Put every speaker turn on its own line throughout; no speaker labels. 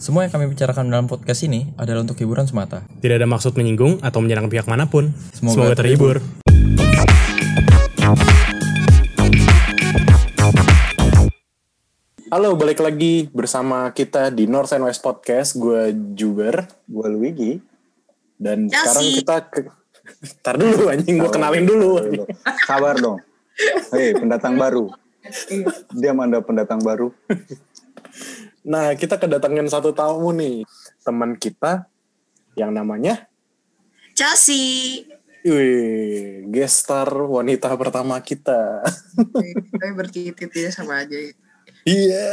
Semua yang kami bicarakan dalam podcast ini adalah untuk hiburan semata.
Tidak ada maksud menyinggung atau menyerang pihak manapun.
Semoga
Semoga, terhibur.
Halo, balik lagi bersama kita di North and West Podcast. Gue Juber, gue Luigi, dan
Chelsea.
sekarang kita ke... Ntar dulu anjing, gue kenalin dulu.
Sabar dong. Hei, pendatang baru. Diam Anda pendatang baru.
Nah, kita kedatangan satu tamu nih. Teman kita yang namanya
Chelsea.
Wih, guest star wanita pertama kita.
Tapi bertitit ya sama aja.
Iya.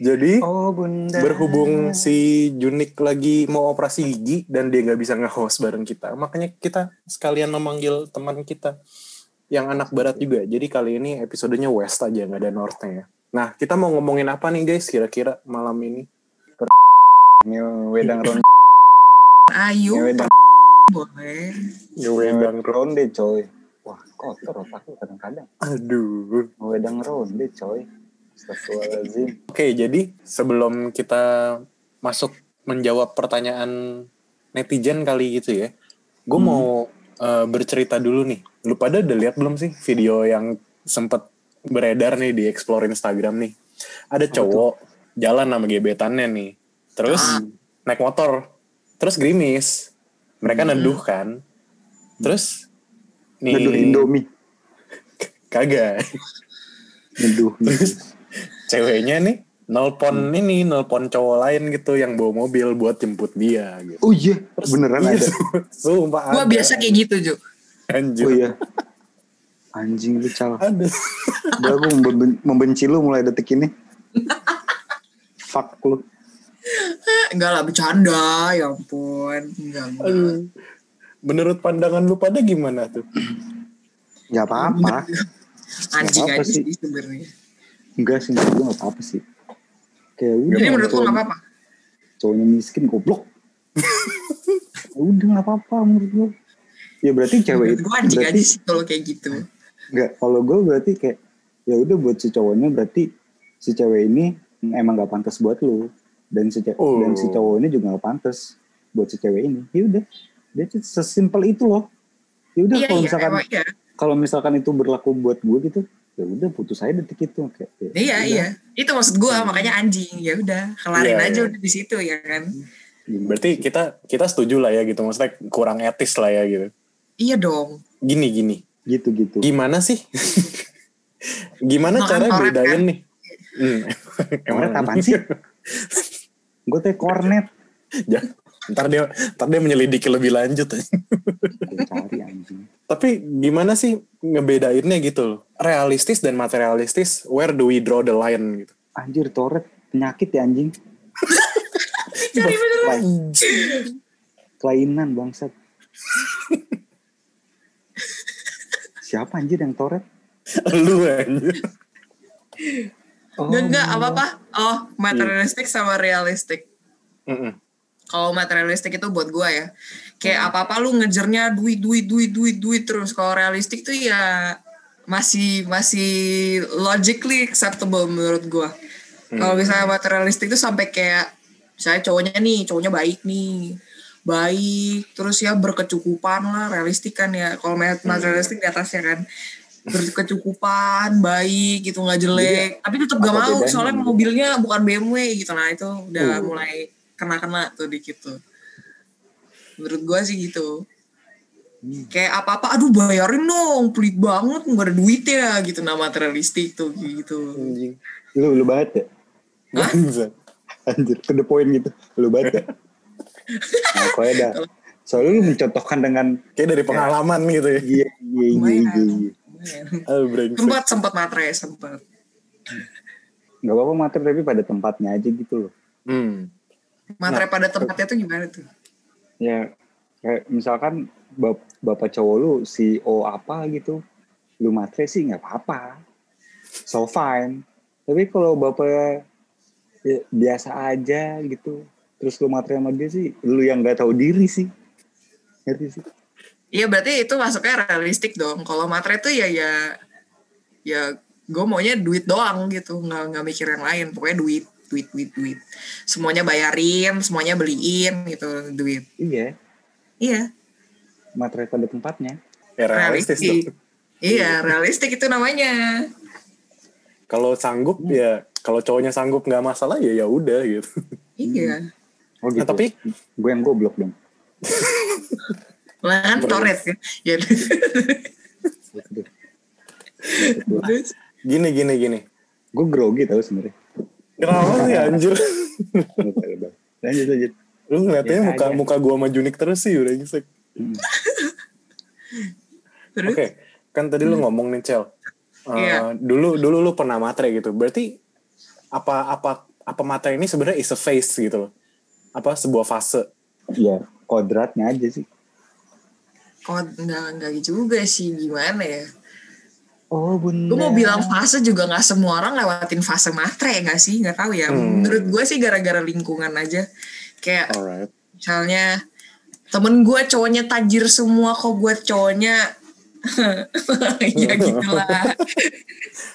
Jadi,
Oh, Bunda.
berhubung si Junik lagi mau operasi gigi dan dia nggak bisa nge-host bareng kita makanya kita sekalian memanggil teman kita yang anak barat juga jadi kali ini episodenya west aja nggak ada northnya ya nah kita mau ngomongin apa nih guys kira-kira malam ini
Mil wedang ronde,
Ayu
mil wedang
boleh.
ya
mil
wedang
wedang ronde, coy. Wah, kotor otakku kadang-kadang.
aduh
Mil wedang ronde, coy. Astagfirullahaladzim.
oke jadi sebelum kita masuk menjawab pertanyaan netizen kali gitu ya gue mau eh, bercerita dulu nih lu pada udah lihat belum sih video yang sempet beredar nih di explore Instagram nih ada cowok jalan sama gebetannya nih terus naik motor terus gerimis mereka neduh kan terus nih
Neduh Indomie.
kagak
Neduh.
ceweknya nih
Hmm.
nelpon ini nelpon cowok lain gitu yang bawa mobil buat jemput dia gitu
Oh iya, beneran
Iya,
ada.
su- Sumpah
Gua
ada.
biasa kayak gitu, Ju.
Anjir.
Oh iya. Anjing lu cal.
Ada.
Udah aku memben- membenci lu mulai detik ini. Fuck lu.
Enggak lah bercanda, ya ampun. Enggak. enggak.
Aduh. Menurut pandangan lu pada gimana tuh?
Ya apa-apa.
Anjing
Apa
aja
sih?
sih sebenarnya.
Enggak sih, enggak gak apa-apa sih. Kayak udah.
Jadi menurut lu
cowok-
enggak apa-apa?
cowoknya miskin goblok Ya udah nggak apa-apa menurut gue ya berarti cewek itu
Gue anjing aja
berarti
sih kalau kayak gitu.
nggak kalau gue berarti kayak ya udah buat si cowoknya berarti si cewek ini emang nggak pantas buat lu dan si ce-
Oh.
dan si cowok ini juga nggak pantas buat si cewek ini ya udah dia tuh sesimpel itu loh ya udah
Iya,
kalau
iya,
misalkan
emang iya.
kalau misalkan itu berlaku buat gue gitu ya udah putus aja detik itu kayak ya
Iya,
udah,
iya. Itu maksud gue, makanya anjing. Ya udah,
Iya,
kelarin aja
iya.
udah di situ ya kan.
gimana
Berarti
sih?
kita kita setuju lah ya gitu. Maksudnya kurang etis lah ya gitu.
Iya dong.
Gini gini.
gitu gitu
Gimana sih? gimana
Makan
cara
korek,
bedain nih? Hmm.
kornet apaan sih gue teh kornet
Ya, ntar dia ntar dia menyelidiki lebih lanjut.
gue cari anjing
Tapi gimana sih ngebedainnya gitu loh? Realistis dan materialistis, where do we draw the line gitu.
anjir Toret penyakit ya anjing
Cari beneran.
Kelai- kelainan bangsat siapa anjir yang Toret
Lu anjir.
Enggak, enggak, apa-apa. Oh, materialistik sama realistik.
Mm-mm.
kalau materialistik itu buat gua ya
Hmm.
kayak apa apa lu ngejernya duit duit duit duit duit terus kalau realistik tuh ya masih masih logically acceptable menurut gua
Hmm.
kalau misalnya materialistik tuh sampai kayak misalnya cowoknya nih cowoknya baik nih baik terus ya berkecukupan lah realistik kan ya kalau
Hmm.
mat- materialistik di atasnya kan berkecukupan baik gitu nggak jelek tapi tetap gak
apa
mau
bedanya?
soalnya mobilnya bukan BMW gitu nah itu udah mulai kena-kena tuh dikit tuh menurut gua sih gitu kayak apa-apa aduh bayarin dong pelit banget nggak ada duitnya gitu nah materialistik tuh gitu
Anjing.
lu lu banget ya
Bangsat.
anjir to the point gitu lu banget ya nah, pokoknya dah soalnya lu mencontohkan dengan
Kayak dari pengalaman gitu ya.
iya iya iya
Lumayan.
iya iya.
Ah, brengsek.
sempat sempat materai sempat
nggak apa-apa materi tapi pada tempatnya aja gitu loh
Hmm.
materai pada tempatnya tuh gimana tuh
ya kayak misalkan bap- bapak cowok lu CEO apa gitu lu matre sih nggak apa-apa so fine tapi kalau bapak ya, biasa aja gitu terus lu matre sama dia sih lu yang nggak tahu diri sih ngerti sih
Iya berarti itu masuknya realistik dong. Kalau materai tuh ya ya ya gue maunya duit doang gitu, nggak nggak mikir yang lain. Pokoknya duit duit duit duit semuanya bayarin semuanya beliin gitu duit
Iya,
iya
materai pada tempatnya.
Ya realistis dong.
realistik iya realistik itu namanya
Kalau sanggup ya, kalau cowoknya sanggup nggak masalah ya ya udah gitu.
iya
Oh gitu.
Nah, tapi
gue yang goblok dong.
lan toret ya Ya.
Aduh.
Terus,
gini gini gini.
Gue grogi tau sebenarnya.
Kenapa sih anjir?
lanjut lanjut.
Lu ngeliatnya
Biasa
muka
aja.
muka gua sama Junik terus sih udah nyesek.
terus
Oke, kan tadi lu ngomong nih Cel. Eh,
Hmm? Iya.
Dulu dulu lu pernah matre gitu. Berarti apa apa apa matre ini sebenarnya is a phase gitu loh. Apa sebuah fase.
Ya kodratnya aja sih.
oh enggak enggak juga sih gimana ya
Oh bener.
Gue mau bilang fase juga nggak semua orang lewatin fase matre nggak sih nggak tahu ya.
Hmm.
Menurut gue sih gara-gara lingkungan aja. Kayak
Alright.
misalnya temen gue cowoknya tajir semua kok gue cowoknya ya gitu lah.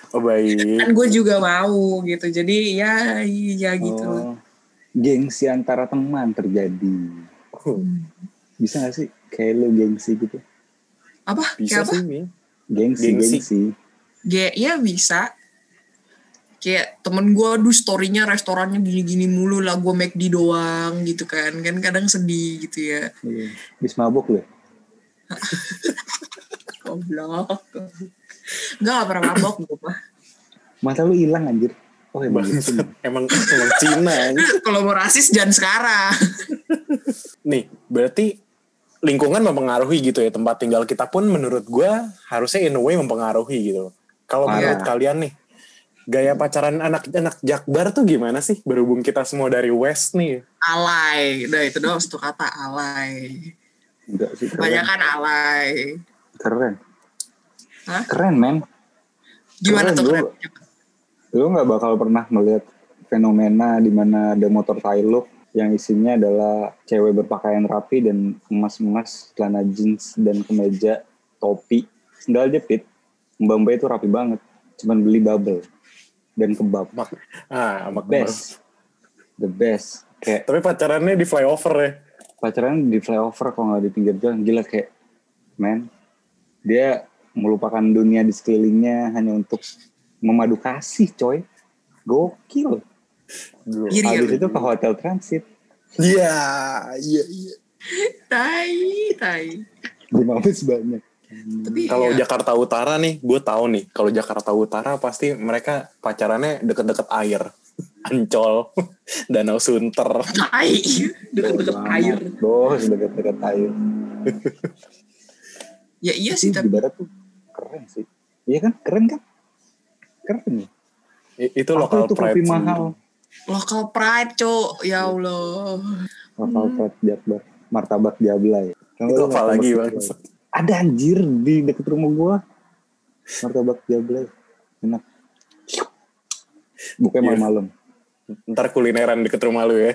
Oh baik.
Kan gue juga mau gitu. Jadi ya ya gitu. lah.
Oh, gengsi antara teman terjadi. Bisa gak sih? Kayak lu gengsi gitu.
Apa?
Bisa
Kayak apa?
sih. Mi.
Gengsi,
Gengsi.
gengsi.
Ge, ya bisa. Kayak temen gue aduh storynya restorannya gini-gini mulu lah gue McD doang gitu kan. Kan kadang sedih gitu ya.
Iya. Habis mabuk lu. ya?
Goblok. Enggak, gak pernah mabok gue mah.
Mata lu hilang anjir. Oh ya
Bangsat. Emang emang Cina. anjir.
Kalau mau rasis jangan sekarang.
Nih, berarti lingkungan mempengaruhi gitu ya tempat tinggal kita pun menurut gua harusnya in a way mempengaruhi gitu. Kalau
Parah.
menurut kalian nih gaya pacaran anak-anak Jakbar tuh gimana sih berhubung kita semua dari West nih?
Alay. Udah itu doang satu kata alay.
Enggak sih
Banyak
keren.
kan alay.
Keren.
Hah?
Keren men.
Gimana
Keren,
tuh?
bro. Lu nggak bakal pernah melihat fenomena di mana ada motor Thailand yang isinya adalah cewek berpakaian rapi dan emas-emas, celana jeans dan kemeja, topi, sendal jepit. Mbak Mbak itu rapi banget, cuman beli bubble dan kebab.
Mak- ah, mak
Best, the best. Kayak
Tapi pacarannya di flyover ya.
pacaran di flyover kalau nggak di pinggir jalan gila kayak man dia melupakan dunia di sekelilingnya hanya untuk memadu kasih coy gokil
Dulu.
Iya.
habis itu ke hotel transit
Iya, iya, iya.
Tai, tai.
di Mabes banyak
Tapi
Kalau
ya,
Jakarta Utara nih, gue tahu nih. Kalau Jakarta Utara pasti mereka pacarannya deket-deket air, Ancol, Danau Sunter.
tai. Deket-deket air.
dos deket-deket air
Ya iya
Tapi
sih,
di
tapi
barat tuh keren sih iya kan keren kan keren ya
I- itu
Apa
lokal
itu kopi
pride.
mahal
local pride, Cok. Ya Allah.
lokal
Hmm.
pride Jakbar martabak Diabla ya Kalau
Itu
lu
apa
martabak
lagi
Diabla
bang?
ya? ada anjir di deket rumah gua martabak jable enak bukan
Iya.
malam-malam
Ntar kulineran deket rumah lu ya.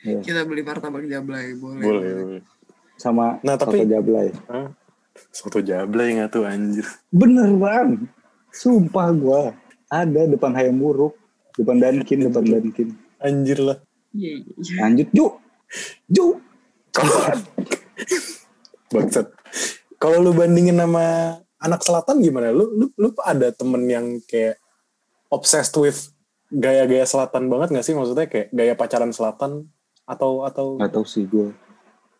Iya.
Kita beli martabak jablay, boleh.
Boleh. boleh.
sama
Nah, tapi-
soto jablay
Hah? Soto jablay nggak tuh anjir.
bener bang sumpah gua ada depan hayam buruk depan dankin depan dankin
Anjir lah.
Iya, iya, iya.
lanjut yuk yuk
Bangsat. Kalau lu bandingin sama anak selatan gimana? Lu lu, lu ada temen yang kayak obsessed with gaya-gaya selatan banget gak sih? Maksudnya kayak gaya pacaran selatan atau atau
nggak tahu sih gua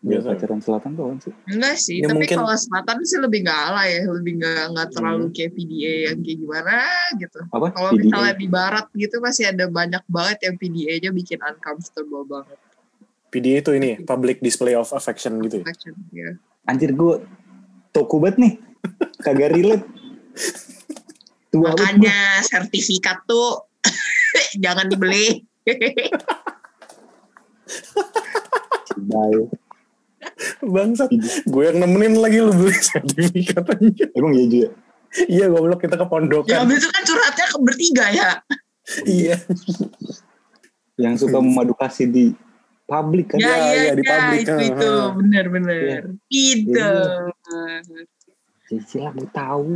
Gua
Biasa.
pacaran selatan tuh apaan sih
Enggak sih,
Ya,
tapi
mungkin-
kalau selatan sih lebih nggak ala ya, lebih nggak nggak terlalu
Hmm.
kayak PDA yang kayak gimana gitu.
apa
Kalau
PDA.
misalnya di barat gitu masih ada banyak banget yang PDA-nya bikin uncomfortable banget
PDA itu ini ya, public display of affection gitu ya.
action ya.
anjir gua toko banget nih kagak relate tua banget gua.
Makanya sertifikat tuh jangan dibeli.
Bye.
Bangsat. Iya. Gue yang nemenin lagi lu beli sertifikat aja.
Emang iya juga.
Iya goblok kita ke
ya
pondokan.
abis itu kan curhatnya ke bertiga ya.
Iya.
Yang suka memadu kasih di publik kan?
Ya,
ya,
ya,
ya, di Iya.
ya,
pabrik,
itu itu Gitu.
ha, ha.
benar-benar itu.
Ya, silah gue tahu.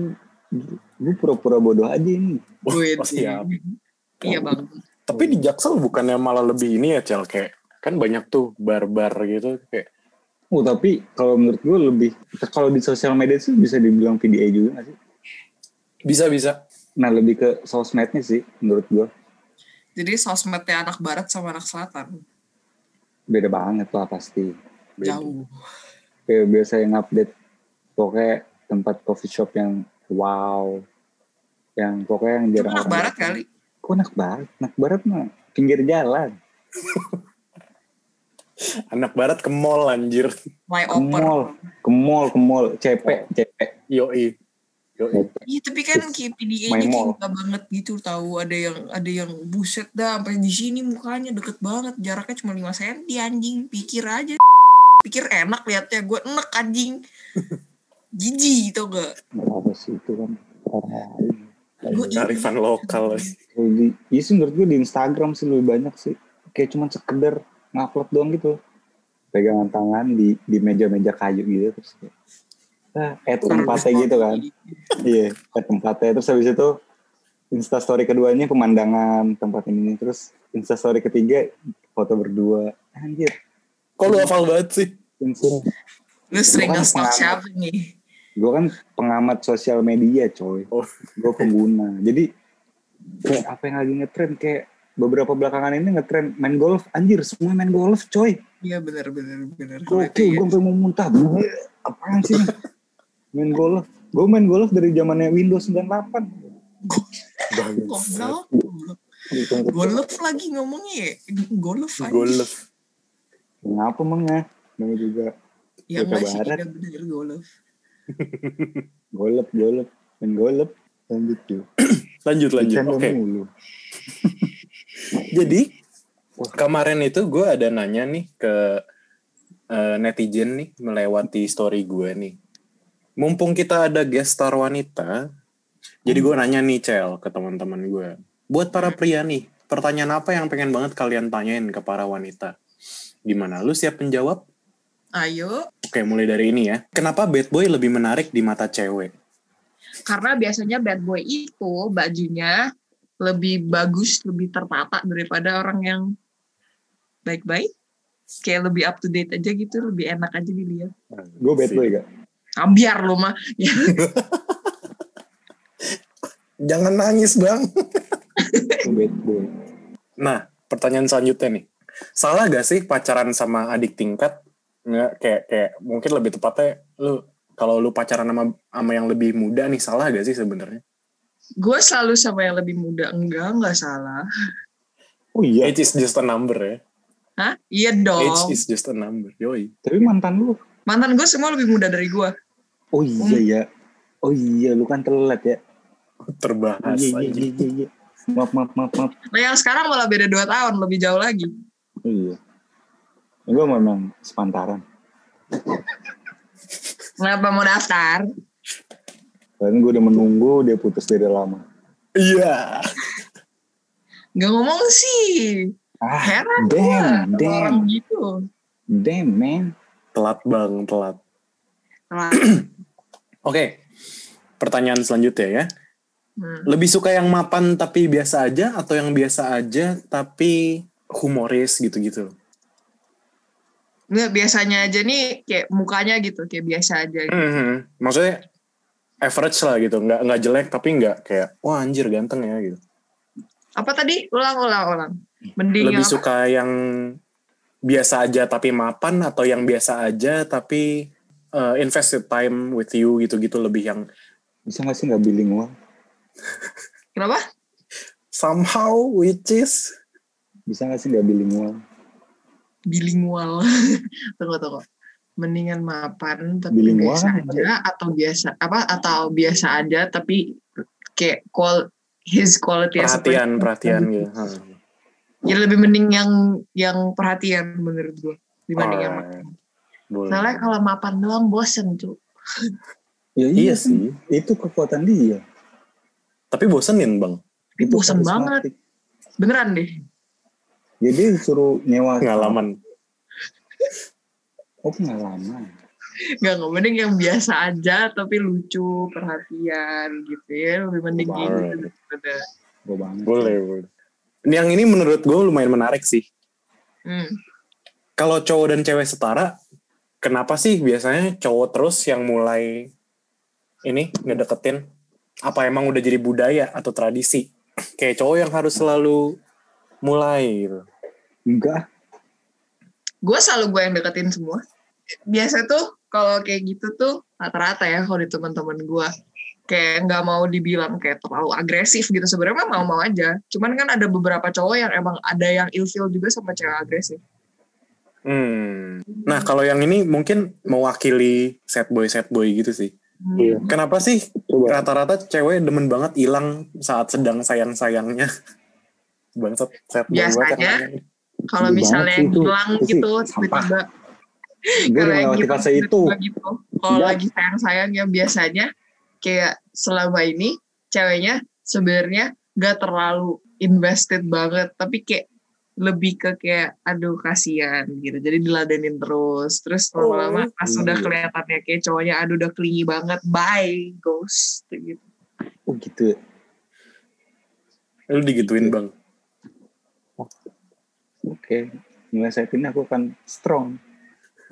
Gue pura-pura bodoh aja ini.
Wah,
Wih,
Oh, siap.
Iya bang.
Tapi di Jaksel bukannya malah lebih ini ya Cel kayak kan banyak tuh barbar gitu kayak
Oh, tapi kalau menurut gue lebih kalau di sosial media sih bisa dibilang PDA juga nggak sih?
bisa bisa.
Nah lebih ke sosmednya sih menurut gue
Jadi sosmednya anak barat sama anak selatan.
beda banget lah pasti.
Beda.
Jauh.
Kayak biasa yang update pokoknya tempat coffee shop yang wow, yang pokoknya yang
Itu
jarang
anak
orang
barat
datang.
kali.
Kok anak barat? Anak barat mah pinggir jalan,
Anak barat ke mall anjir.
My
ke mall,
oper.
ke mall, ke mall, CP,
Oh.
CP.
Yoi. Yoi.
Iya tapi kan kayak
My
PDA-nya
mall.
kayak nggak banget gitu tahu ada yang ada yang buset dah sampai di sini mukanya deket banget jaraknya cuma 5 cm anjing pikir aja pikir enak liatnya gue enak anjing jijik tau gak
Nggak apa sih itu kan orang lain.
Gua-
Kearifan lokal.
Kalau di, iya sih menurut gue di Instagram sih lebih banyak sih. Kayak cuman sekedar ngupload doang gitu. Pegangan tangan di di meja-meja kayu gitu terus kayak ah, eh tempatnya gitu kan. Iya, at tempatnya terus habis itu Insta story keduanya pemandangan tempat ini terus Insta story ketiga foto berdua. Anjir,
Kok lu hafal banget sih?
Insta.
lu sering
Bukan
nge-stalk
pengamat.
siapa nih
Gue kan pengamat sosial media coy.
Oh.
Gue pengguna. Jadi kayak apa yang lagi ngetrend kayak beberapa belakangan ini ngetrend main golf. Anjir semua main golf coy.
iya bener bener bener Kalau
Oke gue
itu ya.
sampai mau muntah. Bleh, Apaan sih ini? main golf. Gue main golf dari zamannya Windows 98.
Bangsat.
goblok goblok. golf lagi ngomongnya ya golf anjing
Golf.
Kenapa emang ya? Namanya juga
ya
Jawa
nggak sih
Barat.
iya bener golf
golf, golf. Main golf. Lanjut yuk.
Lanjut lanjut. Oke.
Bercanda mulu.
Jadi kemarin itu gue ada nanya nih ke eh, netizen nih melewati story gue nih. Mumpung kita ada guest star wanita, jadi gue nanya nih Cel ke teman-teman gue. Buat para pria nih, pertanyaan apa yang pengen banget kalian tanyain ke para wanita? Gimana? Lu siap menjawab?
ayo
Oke, mulai dari ini ya. Kenapa bad boy lebih menarik di mata cewek?
karena biasanya bad boy itu bajunya lebih bagus, lebih tertata daripada orang yang baik-baik. Kayak lebih up to date aja gitu, lebih enak aja dilihat.
Gue bad boy gak?
Ah, biar lo mah. Ya,
Jangan nangis, Bang.
Gue bad boy.
Nah, pertanyaan selanjutnya nih. Salah gak sih pacaran sama adik tingkat? Nggak, kayak kayak mungkin lebih tepatnya lu kalau lu pacaran sama sama yang lebih muda nih salah gak sih sebenarnya?
gue selalu sama yang lebih muda. Enggak, enggak salah.
Oh iya.
Age is just a number ya.
Hah? Iya
Age
dong.
is just a number. Yoi.
Tapi mantan lu
Mantan gue semua lebih muda dari gue.
Oh iya
Hmm.
ya. Oh iya, lu kan telat ya.
Terbahas
Iya iya
aja.
iya iya. iya. Maaf maaf maaf maaf.
Nah yang sekarang malah beda 2 tahun, lebih jauh lagi.
Iya. Gue memang sepantaran.
Kenapa mau daftar?
Karena gue udah menunggu dia putus dari lama.
Iya.
Gak ngomong sih.
Ah,
Heran gue.
damn,
sama
damn.
Orang gitu.
damn man.
Telat bang, telat.
Lah,
Oke. Pertanyaan selanjutnya ya.
hmm.
Lebih suka yang mapan tapi biasa aja atau yang biasa aja tapi humoris gitu-gitu?
Nggak, biasanya aja nih kayak mukanya gitu, kayak biasa aja. gitu.
Mhm. Maksudnya average lah gitu, nggak nggak jelek tapi nggak kayak wah anjir ganteng ya gitu.
Apa tadi? Ulang, ulang, ulang. Mending
Lebih
yang apa?
suka yang biasa aja tapi mapan atau yang biasa aja tapi uh, invested time with you gitu-gitu lebih yang
Bisa gak sih gak bilingual?
Kenapa?
somehow which is
Bisa gak sih gak bilingual?
Bilingual. tunggu, tunggu. Mendingan mapan tapi
Bilingual
biasa
kan yang
aja atau biasa apa atau biasa aja tapi kayak qual his quality as a
perhatian
person.
perhatian gitu. Hmm.
Ya lebih mending yang yang perhatian menurut gue dibanding yang
Alright.
mapan.
Boleh.
Soalnya kalau mapan doang bosen tuh.
Ya,
Iya sih,
Itu kekuatan dia.
tapi bosenin bang.
Tapi
Itu
bosen banget.
karismatik.
Beneran deh.
Jadi suruh nyewa.
Pengalaman.
Oh pengalaman.
Gak, gak mending yang biasa aja tapi lucu, perhatian gitu ya. Lebih mending kayak gitu
Alright.
daripada
Gue banget.
Boleh, boleh. yang ini menurut gue lumayan menarik sih
Hmm.
kalau cowok dan cewek setara kenapa sih biasanya cowok terus yang mulai ini ngedeketin apa emang udah jadi budaya atau tradisi kayak cowok yang harus selalu mulai gitu
enggak
Gue selalu gue yang deketin semua. Biasa tuh kalau kayak gitu tuh rata-rata ya kalau di teman-teman gue kayak nggak mau dibilang kayak terlalu agresif gitu sebenarnya mah mau-mau aja cuman kan ada beberapa cowok yang emang ada yang ilfil juga sama cewek agresif
Hmm. Nah, kalau yang ini mungkin mewakili set boy set boy gitu sih.
Hmm.
Iya.
Kenapa sih
coba
rata-rata cewek demen banget hilang saat sedang sayang-sayangnya? Bangsat set boy banget
Biasanya.
yang lain.
kalau
Iya
misalnya
banget sih, itu.
hilang
Itu sih
gitu
sampah.
tiba-tiba
gue udah
Kayak
melewati
gitu,
fase
tiba-tiba
itu
gitu. Kalau
Iya.
lagi sayang-sayang yang biasanya kayak selama ini ceweknya sebenarnya gak terlalu invested banget, tapi kayak lebih ke kayak aduh kasihan gitu. Jadi diladenin terus. Terus lama-lama pas
iya.
udah kelihatannya kayak cowoknya aduh udah clingy banget, bye, ghost gitu.
oh gitu ya.
Lu digituin, Bang.
oke mulai saat ini aku akan strong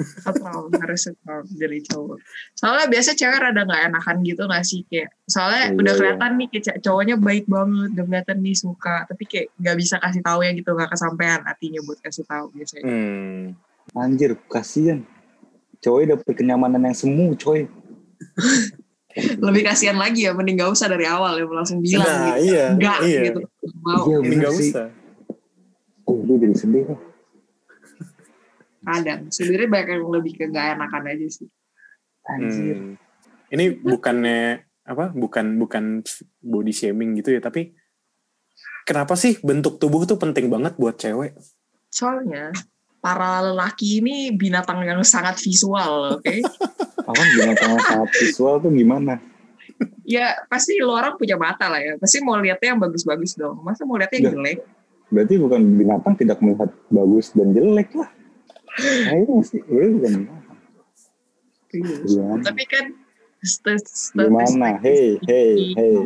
Setral, harus setral dari cowok. Soalnya biasa cewek rada gak enakan gitu gak sih? Kayak, soalnya
Iya,
udah
iya.
kelihatan nih kayak ce- cowoknya baik banget, udah kelihatan nih suka. Tapi kayak gak bisa kasih tahu ya gitu, gak kesampaian hatinya buat kasih tahu biasanya.
Hmm.
anjir kasihan cowoknya dapet kenyamanan yang semu coy
Lebih kasihan lagi ya, mending gak usah dari awal ya, langsung bilang
Nah,
gitu.
iya.
Enggak
iya.
gitu, mau
Iya,
Ini
bener
nggak
sih.
usah.
oh gue jadi sedih lah
kadang. Sebenarnya banyak yang lebih ke gak enakan aja sih.
anjir
Hmm. Ini bukannya apa? Bukan bukan body shaming gitu ya, tapi kenapa sih bentuk tubuh tuh penting banget buat cewek?
Soalnya, para lelaki ini binatang yang sangat visual, oke?
Hmm.
apa binatang yang sangat visual tuh gimana
ya pasti lu orang punya mata lah ya. Pasti mau lihatnya yang bagus-bagus dong. Masa mau lihatnya yang
Iya.
jelek?
berarti bukan binatang tidak melihat bagus dan jelek lah kayaknya sih gue bukan binatang.
Iya.
gimana
Tapi kan st- st-
gimana
statistik-
hey hey hey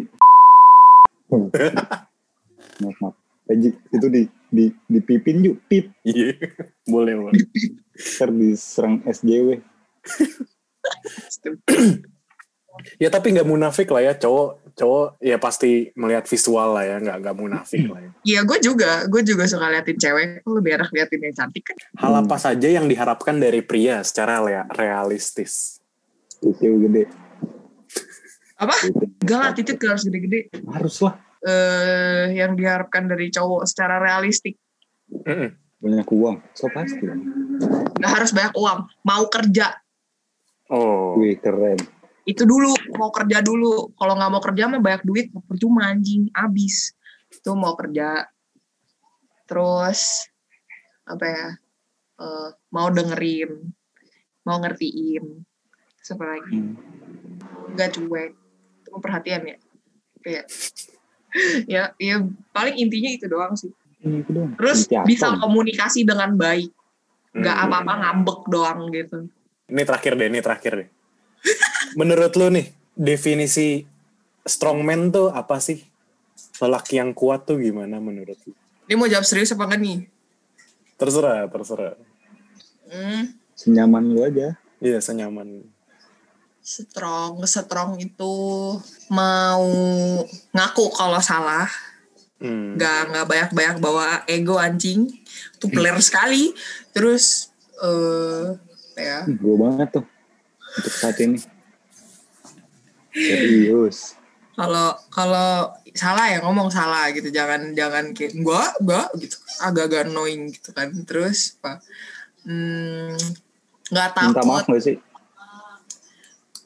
maaf maaf Eji, itu di di dipipin yuk pip
Iya. boleh, boleh.
ter diserang SJW
statistik.
Ya tapi nggak munafik lah ya cowok cowok ya pasti melihat visual lah ya nggak nggak munafik lah ya.
Iya, gue juga, gue juga suka liatin cewek. Gue lebih enak liatin yang cantik kan.
Hal apa saja yang diharapkan dari pria secara lea- realistis?
itu gede
Apa?
Itu.
Enggak lah, titik harus gede-gede.
harus lah
Eh, yang diharapkan dari cowok secara realistik.
Mm-mm.
banyak uang so pasti dong.
Gak harus banyak uang. Mau kerja.
Oh
wih keren
Itu dulu. Mau kerja dulu. Kalau nggak mau kerja mah banyak duit. Percuma anjing. Abis. Itu mau kerja. Terus. Apa ya. eh, mau dengerin. Mau ngertiin. Terus apa lagi?
Hmm.
nggak cuek cuma perhatian ya kayak ya ya paling intinya itu doang sih
ini Iya, itu dong
terus
Intiatom.
bisa komunikasi dengan baik nggak
Hmm.
apa-apa ngambek doang gitu
ini terakhir deh ini terakhir deh. Menurut lu nih definisi strongman tuh apa sih? Lelaki yang kuat tuh gimana menurut lu?
ini mau jawab serius apa enggak nih
Terserah terserah.
hmm,
senyaman lu aja
Iya senyaman.
strong strong itu mau ngaku kalau salah
Hmm.
nggak nggak banyak-banyak bawa ego anjing itu player sekali terus eh ya
Hmm, gue banget tuh untuk saat ini serius
kalau kalau salah ya ngomong salah gitu jangan jangan kayak enggak enggak gitu agak-agak annoying gitu kan terus apa hmm, nggak
minta
takut
maaf gak sih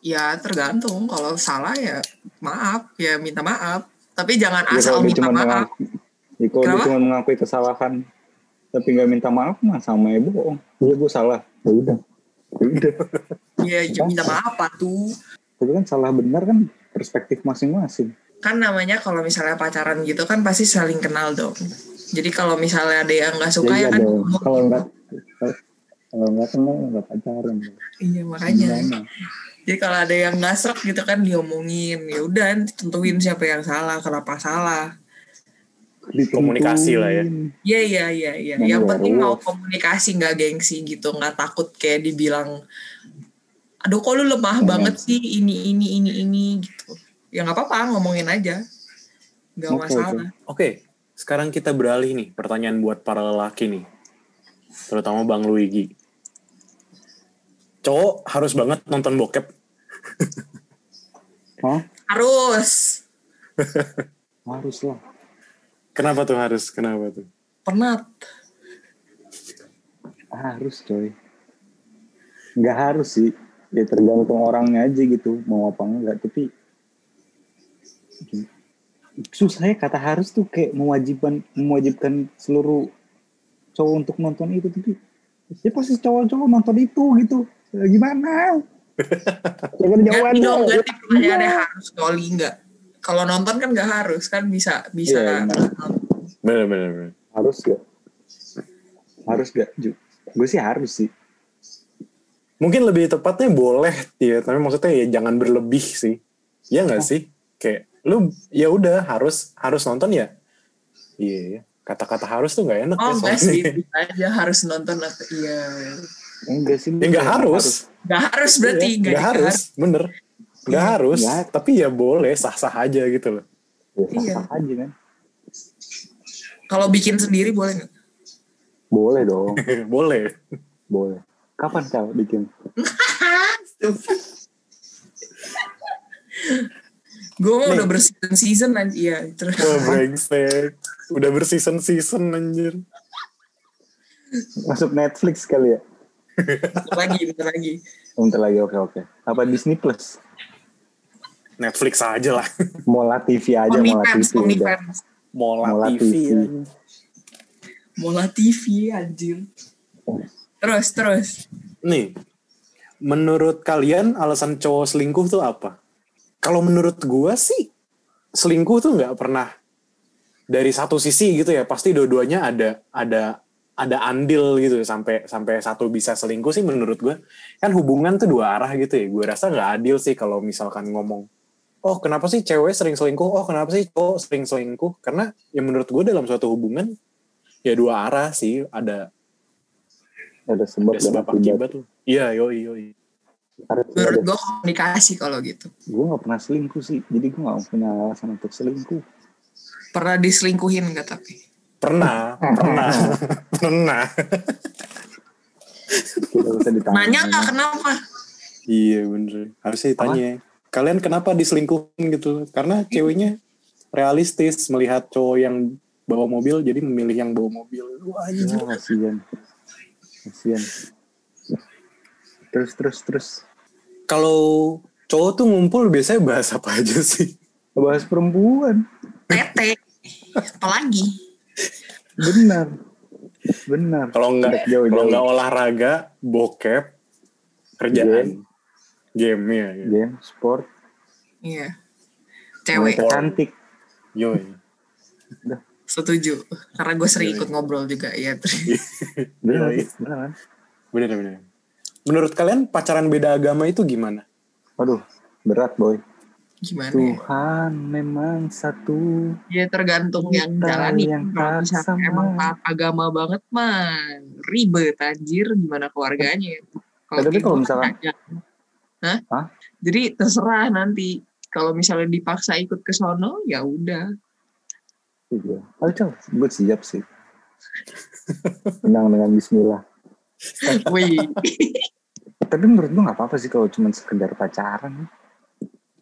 ya tergantung kalau salah ya maaf ya minta maaf tapi jangan
Ya,
asal
kalau dia
minta
cuma
maaf
mengakui, ya, kalau dia
Kenapa?
cuma mengakui kesalahan tapi nggak minta maaf mah sama ibu bohong. Iya gue salah. Ya udah. Ya udah.
ya, ya minta maaf apa tuh
Tapi kan salah benar kan perspektif masing-masing.
kan namanya kalau misalnya pacaran gitu kan pasti saling kenal dong jadi kalau misalnya ada yang nggak suka
Ya,
ya,
iya
kan
dong.
ngomong.
Kalau nggak kalau nggak kenal nggak pacaran.
iya makanya
Gimana?
Jadi Ya, kalau ada yang nggak srek gitu kan diomongin, ya udah tentuin siapa yang salah, kenapa salah.
Komunikasi lah ya.
ditentuin.
Iya iya iya iya.
Manual
Yang penting mau
rules.
komunikasi nggak gengsi gitu, nggak takut kayak dibilang, aduh kok lu lemah
Iya.
banget sih ini ini ini ini gitu. Ya nggak apa-apa ngomongin aja, nggak
Oke,
masalah.
Oke, sekarang kita beralih nih pertanyaan buat para lelaki nih. Terutama Bang Luigi. Cowok harus banget nonton bokep.
Hah?
Harus
Harus lah.
Kenapa tuh harus? Kenapa tuh?
penat.
Harus coy. Nggak harus sih. Ya tergantung orangnya aja gitu. Mau apa enggak. Tapi susahnya ya kata harus tuh kayak mewajibkan mewajibkan seluruh cowok untuk nonton itu tapi ya pasti cowok-cowok nonton itu gitu Ya gimana jangan
Ganti
jawaban
dong,
dong.
ganti pertanyaannya harus kali nggak? Kalau nonton kan nggak harus kan bisa bisa.
Iya, iya.
Bener, bener, bener.
harus gak harus gak gue sih harus sih
Mungkin lebih tepatnya boleh ya, tapi maksudnya ya jangan berlebih sih. Ya nggak sih? Kayak lu ya udah harus harus nonton ya. Iya, ya. kata-kata harus tuh nggak enak
Oh
ya
enggak
soalnya.
sih, bisa aja harus nonton atau iya.
enggak sih
Ya nggak harus.
Nggak harus berarti
Iya, nggak harus, bener. Nggak harus,
nggak.
tapi ya boleh sah-sah aja gitu loh.
Ya,
Iya.
sah-sah aja kan
Kalau bikin sendiri boleh nggak?
boleh dong
boleh.
boleh kapan kau bikin
Gue mah udah berseason season aja iya, terus
Wah, Oh, brengsek. Udah berseason-season anjir.
masuk Netflix kali ya
bentar lagi bentar lagi.
bentar lagi oke oke apa Disney Plus
Netflix aja lah.
Mola TV aja Mola
OnlyFans,
TV udah
OnlyFans,
Mola,
Mola
TV.
TV.
anjing.
Mola TV anjir. Terus terus.
Nih, menurut kalian alasan cowok selingkuh tuh apa? Kalau menurut gua sih, selingkuh tuh nggak pernah dari satu sisi gitu ya. Pasti dua-duanya ada ada ada andil gitu sampai sampai satu bisa selingkuh sih menurut gua. Kan hubungan tuh dua arah gitu ya. Gua rasa nggak adil sih kalau misalkan ngomong oh kenapa sih cewek sering selingkuh, oh kenapa sih cowok sering selingkuh, karena ya menurut gue dalam suatu hubungan ya dua arah sih ada
ada sebab
ada sebab akibat loh. Iya yoi yoi.
Menurut gue komunikasi kalau gitu.
gue gak pernah selingkuh sih jadi gue gak punya alasan untuk selingkuh
Pernah diselingkuhin nggak tapi?
Pernah, pernah, pernah.
tidak usah ditanya
Nanya nggak
Hmm.
kenapa?
Iya bener. Harusnya ditanya. Kalian kenapa diselingkuhin gitu? Karena ceweknya realistis melihat cowok yang bawa mobil jadi memilih yang bawa mobil. Wah, anjir.
Ya, kasihan kasihan terus terus terus
Kalau cowok tuh ngumpul biasanya bahas apa aja sih?
bahas perempuan
Tete. Apalagi?
benar benar
Kalau nggak
Jauh,
kalau
jauh.
nggak olahraga, bokep, kerjaan, game, ya. ya.
game sport
Iya. Cewek.
wanita cantik
Yo,
Setuju. Karena gue sering ikut ngobrol juga ya.
benar
Yoi.
benar kan
bener bener. Menurut kalian pacaran beda agama itu gimana?
Waduh, berat boy.
Gimana? ya?
Tuhan memang satu.
Ya tergantung yang
Kita
jalani.
yang
Kalau
taat sama.
misalnya emang taat agama banget mah ribet anjir gimana keluarganya.
Eh, tapi
kayak
kalau
gua
misalkan-
aja. Hah?
Hah?
Jadi terserah nanti kalau misalnya dipaksa ikut ke sono ya udah.
Iya. Ayo coba, gue siap sih. Menang dengan Bismillah.
Wih, Ya,
Tapi menurut gue nggak apa-apa sih kalau cuma sekedar pacaran.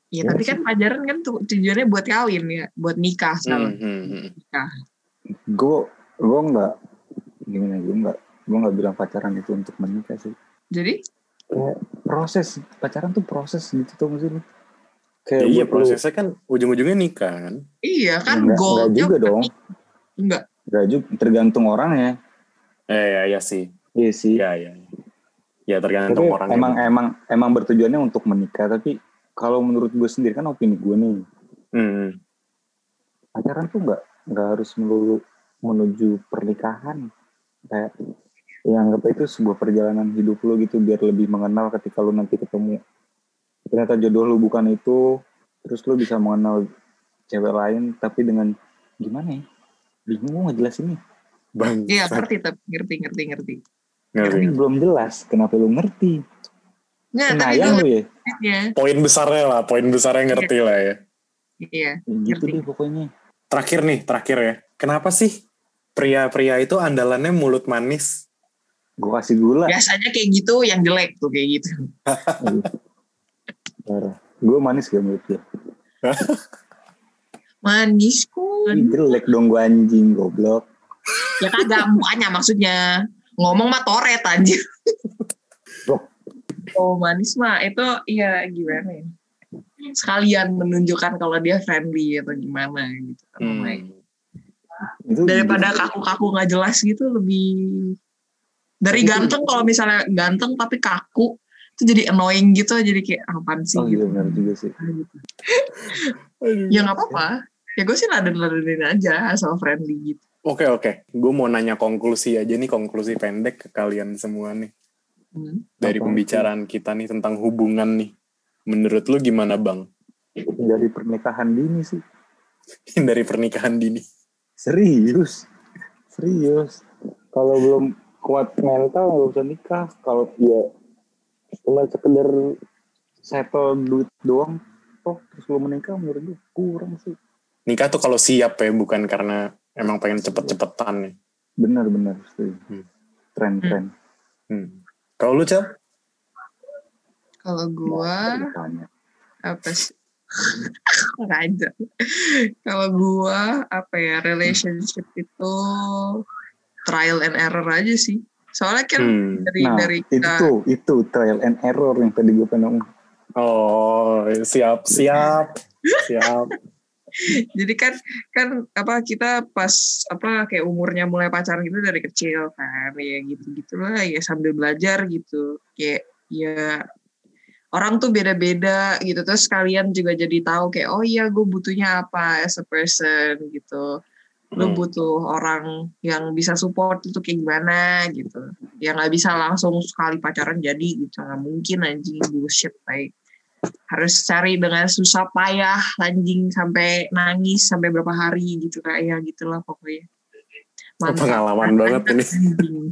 Iya
ya tapi kan pacaran kan tuh tujuannya buat kawin ya, buat nikah
Hmm,
Hmm.
sama
Gue gue nggak gimana gue nggak gue nggak bilang pacaran itu untuk menikah sih.
Jadi
Proses pacaran tuh proses gitu tuh sih lu.
Ya,
Kayak
iya
buat lu-
prosesnya kan ujung-ujungnya nikah kan.
iya kan
Nggak-
goal
nggak juga dong.
Enggak.
Nggak juga, tergantung orangnya.
Eh ya, ya sih.
Iya sih.
Ya ya. Ya
Tapi
tergantung orang.
emang emang emang bertujuannya untuk menikah tapi kalau menurut gue sendiri kan opini gue nih
Hmm.
pacaran tuh nggak nggak harus melulu menuju pernikahan kayak yang anggap itu sebuah perjalanan hidup lo gitu biar lebih mengenal ketika lo nanti ketemu ternyata jodoh lo bukan itu terus lo bisa mengenal cewek lain tapi dengan gimana ya bingung gue nggak jelas ini
Bang.
Iya ngerti tapi ngerti ngerti ngerti.
tapi
Ngerti.
belum jelas kenapa lu ngerti
Nggak tapi gue
Senayang lu ya
ya.
Poin besarnya lah, poin besarnya ngerti lah ya.
Iya.
Ya gitu
Ngerti.
deh pokoknya
Terakhir nih, terakhir ya. Kenapa sih pria-pria itu andalannya mulut manis?
gue kasih gula
Biasanya kayak gitu yang jelek tuh kayak gitu.
gue manis gak menurut dia
Manisku.
Ih, jelek dong gue anjing goblok
Ya kagak mukanya maksudnya. Ngomong mah toret anjir.
Loh.
Oh manis mah itu iya gimana ya. Sekalian menunjukkan kalau dia friendly atau gimana gitu.
Hmm.
itu gitu.
Daripada kaku-kaku nggak jelas gitu lebih
Tapi
dari
itu-
ganteng kalau misalnya ganteng tapi kaku itu jadi annoying gitu jadi kayak apaan sih
oh iya
gitu.
benar juga sih
Ya nggak apa-apa. Ya gue sih laden-ladenin aja asal friendly gitu.
Oke oke, gue mau nanya konklusi aja nih konklusi pendek ke kalian semua nih
Hmm.
dari
Apa?
pembicaraan kita nih tentang hubungan nih. Menurut lu gimana bang
dari pernikahan dini sih
dari pernikahan dini?
serius serius kalau belum kuat mental nggak usah nikah kalau ya cuma sekedar settle duit doang toh terus lu menikah menurut gue kurang sih
Nikah tuh kalau siap ya, bukan karena emang pengen cepet-cepetan ya. nih.
benar-benar sih
Hmm.
tren tren
Hmm. Kalau lu Cal?
Kalau gue
ditanya
apa sih? Nggak ada. Kalau gua apa ya relationship itu trial and error aja sih. Soalnya kan
Hmm.
dari
nah
dari
itu
kita-
tuh itu trial and error yang tadi gue pengen ngomong
Oh siap siap siap.
jadi kan kan apa kita pas apa kayak umurnya mulai pacaran gitu dari kecil kan ya gitu gitulah ya sambil belajar gitu kayak ya orang tuh beda-beda gitu terus kalian juga jadi tahu kayak oh iya gue butuhnya apa as a person gitu lu
Hmm.
butuh orang yang bisa support itu kayak gimana gitu ya nggak bisa langsung sekali pacaran jadi gitu nggak mungkin anjing bullshit baik harus cari dengan susah payah anjing sampai nangis sampai berapa hari gitu kayak ya gitulah pokoknya
Oh, pengalaman banget ini.
Anjing.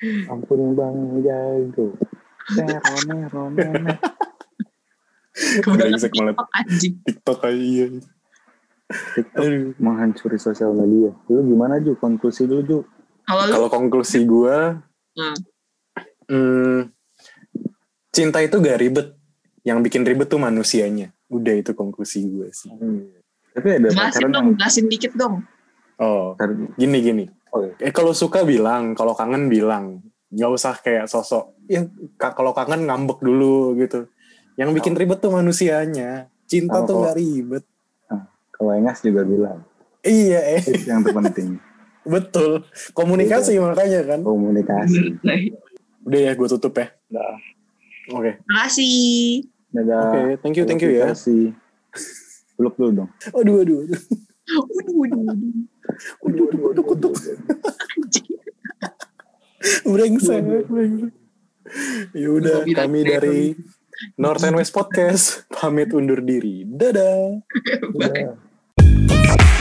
Hmm.
ampun bang jago Eh, Nerone, nerone, nerone.
Kebetulan
Brengsek banget.
TikTok, anjing
TikTok aja. iya.
TikTok
Aduh.
menghancuri sosial media. Lu gimana Ju? Konklusi dulu Ju.
kalau lu
Kalau konklusi gue,
Hmm.
hmm, cinta itu gak ribet. Yang bikin ribet tuh manusianya. Udah itu konklusi gue sih.
Hmm. Tapi ada
jelasin
pacaran
dong
yang
jelasin dikit dong
Oh,
Ntar,
gini gini.
oh iya.
Eh kalau suka bilang, kalau kangen bilang. Gak usah kayak sosok. Ya ka- kalau kangen ngambek dulu gitu. Yang bikin ribet tuh manusianya. Cinta
Sama
tuh
kalau-
gak ribet.
Kalau Engas juga bilang.
Iya eh
Itu yang terpenting.
betul. Komunikasi makanya kan.
Komunikasi.
Udah ya gue tutup ya.
Dah.
Oke.
makasih
Dadah.
Oke, thank you, thank you ya.
Nah, Komunikasi. Peluk dulu dong.
Aduh aduh aduh.
waduh waduh waduh
Kutuk kutuk kutuk.
anjing
Brengsek, brengsek. Ya udah,
Gua bilang
kami
brengsek.
dari North and West Podcast pamit undur diri. Dadah.
Bye.
Dadah.